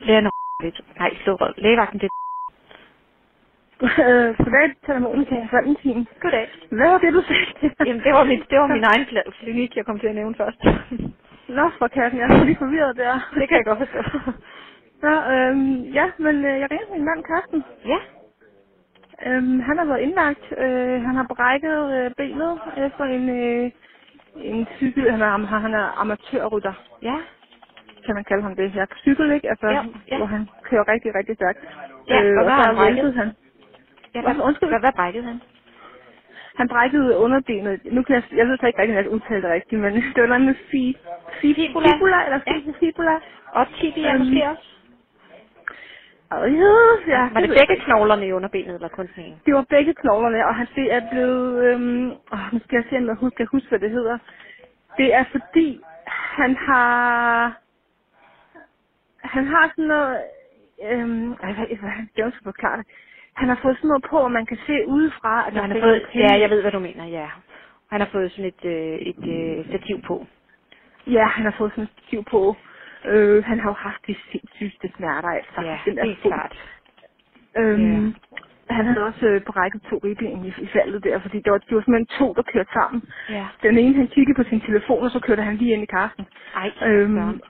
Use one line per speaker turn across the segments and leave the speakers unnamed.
Lægen er Nej, slå Lægevagten, det
Øh, Goddag, taler med Monika Valentin.
er goddag.
Hvad var det, du sagde?
Jamen, det var, min, det var min egen kla- klinik, jeg kom til at nævne først.
Nå, for katten, jeg er lige forvirret der.
det kan jeg godt forstå.
Nå, øhm, ja, men øh, jeg ringer til min mand, Karsten.
ja,
Øhm, han har været indlagt. Øh, han har brækket øh, benet efter en, øh, en cykel. Han er, am- han er amatørrytter,
ja,
kan man kalde ham det. Jeg cykel, ikke? Altså,
Ja, ja.
hvor han kører rigtig, rigtig stærkt. Øh,
Ja, og hvad
og
har
så
han brækket?
væltede han.
ja.
Hvad- undskyld?
Hvad, hvad brækkede han?
Han brækkede underbenet. Nu kan jeg, jeg ved så ikke rigtig, om jeg kan udtale det rigtigt, men det var noget med fi, fi,
Fibula.
fibula, eller fi,
Ja.
fibula.
Og tibia
Øhm,
måske også?
Og ja, ja,
Var det
ved jeg
begge
ikke.
knoglerne i underbenet, eller kun den ene?
Det var begge knoglerne, og han det er blevet... Øhm, åh, nu skal jeg se, om jeg hus- kan huske, hvad det hedder. Det er fordi, han har... Han har sådan noget... Øhm, ej, hvad, hvad, det er jo så forklare det. Han har fået sådan noget på, og man kan se udefra, at
Nå,
der
han har
stikker
fået,
en pinde.
ja, jeg ved, hvad du mener, ja. Han har fået sådan et, øh, et øh, stativ på.
Ja, han har fået sådan en stiv på. Øh, han har jo haft de sindssygeste smerter, altså.
Ja,
den der
helt
fod.
klart.
Øhm, Han havde også øh, brækket to ribben i, i faldet der, fordi det var, det var simpelthen to, der kørte sammen.
Ja.
Den ene, han kiggede på sin telefon, og så kørte han lige ind i Karsten.
Ej,
Øhm,
Søren.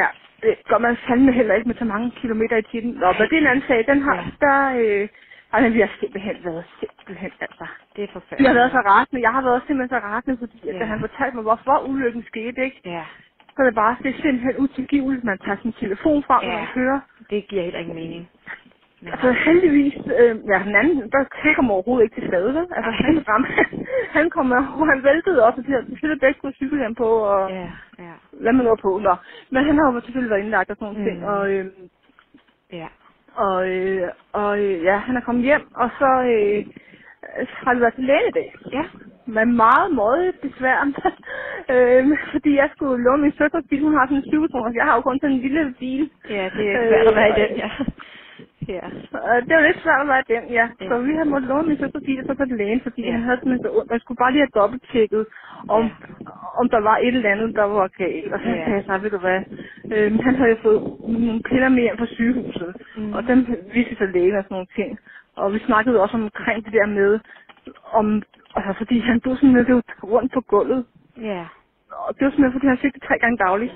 ja, det gør man fandme heller ikke med så mange kilometer i timen. Nå, men det er en anden sag. Den har,
Ja.
der, øh, ej, men vi har simpelthen været simpelthen, altså.
det er
Vi har
forfærdeligt.
været så rasende. Jeg har været simpelthen så rasende, fordi at da
Ja.
han fortalte mig, hvorfor ulykken skete, ikke?
Ja,
Så er det bare, det er simpelthen utilgiveligt, man tager sin telefon frem, når
ja.
man kører.
Det giver heller ingen mening. Nej.
Altså heldigvis, øh, ja, den anden, der fik ham overhovedet ikke til skade, vel? Altså
Ej.
han ramte, han kom, og han væltede også, og de havde selvfølgelig begge kunne cykelhjelm på, og
Ja, ja,
hvad man nu var på, nå. Men han har jo selvfølgelig været indlagt og sådan nogle ting,
Mm.
og, øh,
ja.
og, øh, og øh, ja, han er kommet hjem, og så øh, har det været til læge i dag.
Ja,
Med meget måde besvær, øh, fordi jeg skulle låne min søsters bil, hun har sådan en 20 jeg har jo kun sådan en lille bil.
ja det
Øh,
er svært at være i
og-
den, ja. Ja,
Øh, det var lidt svært at være den, ja.
Ja.
Så vi havde måttet låne min søster fordi det så på lægen, fordi
Ja.
han havde simpelthen så ondt. Man skulle bare lige have dobbelttjekket, om,
Ja.
om der var et eller andet, der var galt. Og så
Ja.
sagde jeg så, ved du hvad, øh, han havde jo fået nogle piller med hjem fra sygehuset.
Mhm.
Og dem viste så lægen og sådan nogle ting. Og vi snakkede også omkring det der med, om, altså fordi han blev sådan lidt rundt på gulvet.
ja.
Og det var simpelthen, fordi han fik det tre gange dagligt,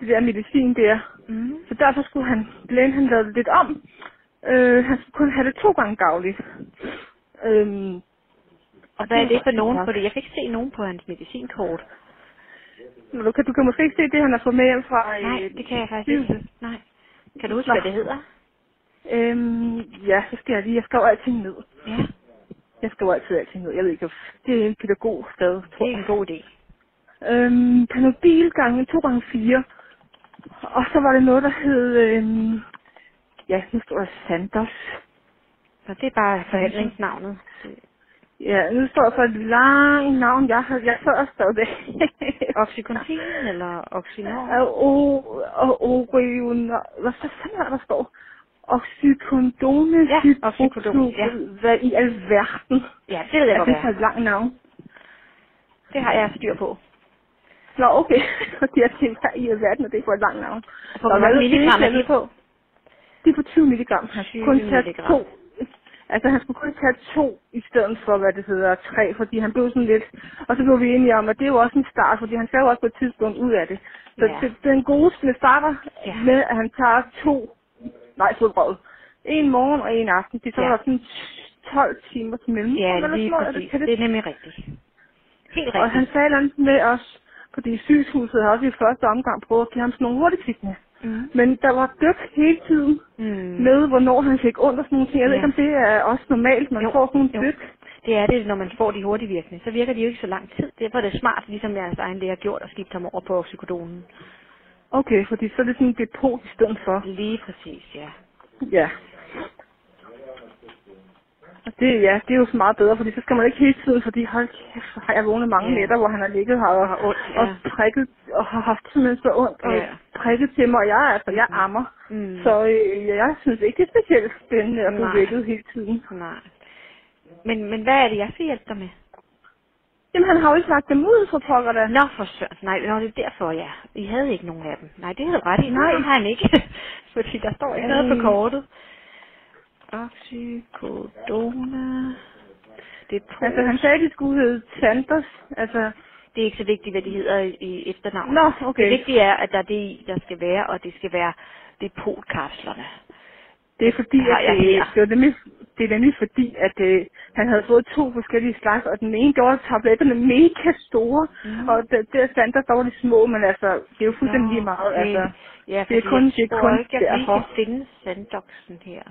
det der medicin der.
Mm.
Så derfor skulle han, lægen han lavede det lidt om. Øh, han skulle kun have det to gange dagligt. Øhm,
Og hvad er det for nogen?
var-
Fordi jeg kan ikke se nogen på hans medicinkort.
Nå, Du kan, du kan måske ikke se det, han har fået med hjem fra... øh,
Nej, det kan jeg faktisk
sygehuset.
ikke. Nej. Kan du huske,
Nå.
hvad det hedder?
Øhm, ja, så skal jeg lige. Jeg skriver alting ned.
Ja,
Jeg skriver altid alting ned. Jeg ved ikke, om- det er en pædagog stadig,
det
tror
er
jeg.
en god idé.
Øhm, Panodil gange 2 gange 4. Og så var det noget, der hed... Øhm, ja, nu står der Sanders.
Så det er bare forhandlingsnavnet.
Ja, nu står jeg for et langt navn. Jeg har jeg før stået det.
Oxycontin eller Oxynor?
Og Orion, hvad så fanden er der står? Oxycondone,
Ja,
hydroxyl-
oxycodone, ja.
Hvad i alverden?
Ja, det ved jeg
Er
godt,
det
hvad
for
er.
et langt navn?
Det har jeg styr på.
Nå, okay. Fordi jeg tænkte, hvad i alverden er det for et langt navn?
Hvor
Nå,
mange
hvad det,
milligram er
jeg ved-
de på?
Det er på 20 milligram. Han
20
skulle kun tage
milligram.
to. Altså, han skulle kun tage to i stedet for, hvad det hedder, tre, fordi han blev sådan lidt... Og så blev vi enige om, at det er jo også en start, fordi han skal jo også på et tidspunkt ud af det. Så
Ja.
ja. det, den gode spil starter
Ja.
ja. med, at han tager to... Nej, fodbold. En morgen og en aften. Det er så
Ja.
ja. sådan 12 timer til mellem.
Ja, lige præcis.
det,
Det Mm, er nemlig rigtigt. Helt
og han
rigtigt.
sagde noget med os, fordi sygehuset har også i første omgang prøvet at give ham sådan nogle hurtigtikkene.
Mm.
Men der var dyk hele tiden
Mm.
med, hvornår han fik ondt og sådan nogle ting. Jeg ved
Ja.
ikke, om det er også normalt, man
Jo,
får sådan
jo.
nogle dyk.
Det er det, når man får de hurtige virkninger. Så virker de jo ikke så lang tid. Derfor er det smart, ligesom jeres egen læge har gjort, at skifte ham over på psykodonen.
Okay, fordi så er det sådan en depot i stedet for.
Lige præcis, ja.
Ja. Og det, ja, det er jo så meget bedre, fordi så skal man ikke hele tiden, fordi hold kæft, hvor har jeg vågnet mange
Ja.
nætter, hvor han har ligget her og,
Og har ondt,
og
ja.
prikket, og har haft simpelthen så ondt, og
Ja.
prikket til mig, og jeg, er- altså, jeg
Mhm.
ammer.
Mm.
Så øh, jeg synes ikke, det er specielt spændende at blive
Nej.
vækket hele tiden.
Nej. Men, men hvad er det, jeg skal hjælpe dig med?
Jamen, han har jo ikke lagt dem ud for pokker da.
Nå, for søren. Nej, nå, det er derfor, ja. I havde ikke nogen af dem. Nej, det havde du ret i.
Nej. Øh,
det har han ikke. Fordi der står ikke noget på
Ej.
kortet. Oxycodona. Det er
Altså, han
polsk.
sagde, at de skulle hedde Sanders. Altså,
Det er ikke så vigtigt, hvad de hedder i, i efternavn.
nå,
Det
okay.
vigtige er, at der er det i, der skal være, og det skal være depolkapslerne.
Det er fordi,
Har
at
jeg
det,
her.
det, var nemlig, det er nemlig fordi, at øh, han havde fået to forskellige slags, og den ene gjorde tabletterne mega store,
Mm.
mm. og det, det er sandt, der var de små, men altså, det er jo fuldstændig lige meget.
det,
Altså,
ja,
det er
fordi
kun, det
jeg
er
tror
kun
ikke, jeg lige
derfor.
kan finde sanddoksen her.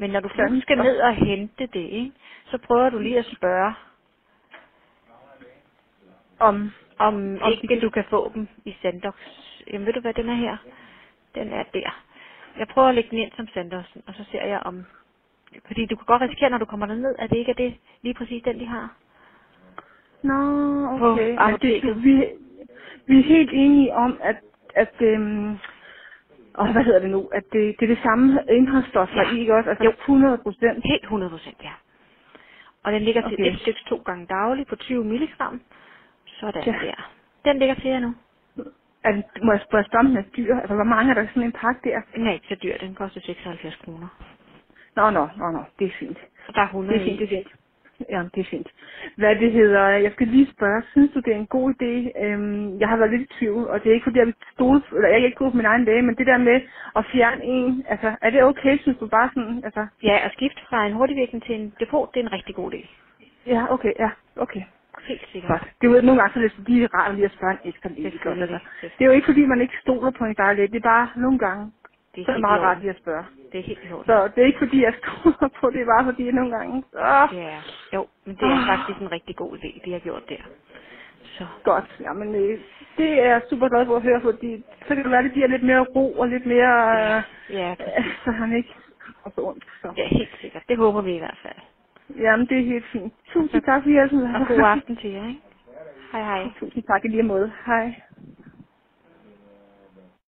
Men når du nu
Sanddoksen.
skal ned og hente det, ikke, så prøver du lige at spørge,
Om,
om,
Om
om
de
ikke
kan-
du kan få dem i sanddoksen. Jamen ved du hvad, den er her. Den er der. Jeg prøver at lægge den ind som sanddoksen, og så ser jeg om... Fordi du kan godt risikere, når du kommer derned, at det ikke er det lige præcis den, de har.
nå,
På
okay. Men det,
apoteket.
er- vi, vi er helt enige om, at, at øhm, og hvad hedder det nu, at det, det er det samme indholdsstof, der
Ja.
er i, ikke også? Altså
Jo.
100 procent.
Helt 100 procent, ja. Og den ligger til
Okay.
et stykke to gange dagligt på 20 milligram. Sådan
Ja.
der. Den ligger til jer nu.
Er den, må jeg spørge spørge, om den er dyr? Altså, hvor mange er der i sådan en pakke der?
Den er ikke så dyr, den koster 76 kroner.
Nå, nå, nå, nå, det er fint.
Og der er
Det
100
er fint,
i.
det er fint. Ja, det er fint. Hvad det hedder, jeg skal lige spørge, synes du, det er en god idé? Øhm, jeg har været lidt i tvivl, og det er ikke, fordi jeg vil stole, eller jeg kan ikke gå på min egen læge, men det der med at fjerne en, altså, er det okay, synes du, bare sådan, altså,
Ja, og skift fra en hurtigvirkning til en depot, det er en rigtig god idé.
ja, okay, ja, okay.
Helt sikkert.
Godt. Det er jo nogle gange, så er det lige rart lige at spørge en ekstra læge, ikke også? Altså,
Selvfølgelig.
det er jo ikke, fordi man ikke stoler på en dejlig læge, det er bare nogle gange,
Det
så
er
er det
helt i
meget rart
orden.
lige at spørge.
Det er helt i orden.
Så det er ikke fordi, jeg skriver på det, bare fordi jeg nogle gange... Åh,
Ja, jo, men det er
Ah.
faktisk en rigtig god idé, det jeg har gjort der. Så,
godt. Jamen, øh, det er jeg super glad for at høre, fordi så kan det være, det giver lidt mere ro og lidt mere...
ja,
Øh,
ja,
øh,
præcis.
så han ikke har så ondt. Så.
Ja, helt sikkert. Det håber vi i hvert fald.
Jamen, det er helt fint. Tusind
Så-
tak for hjælpen.
Og god aften til jer, ikke? Hej hej.
Tusind tak i lige måde. Hej.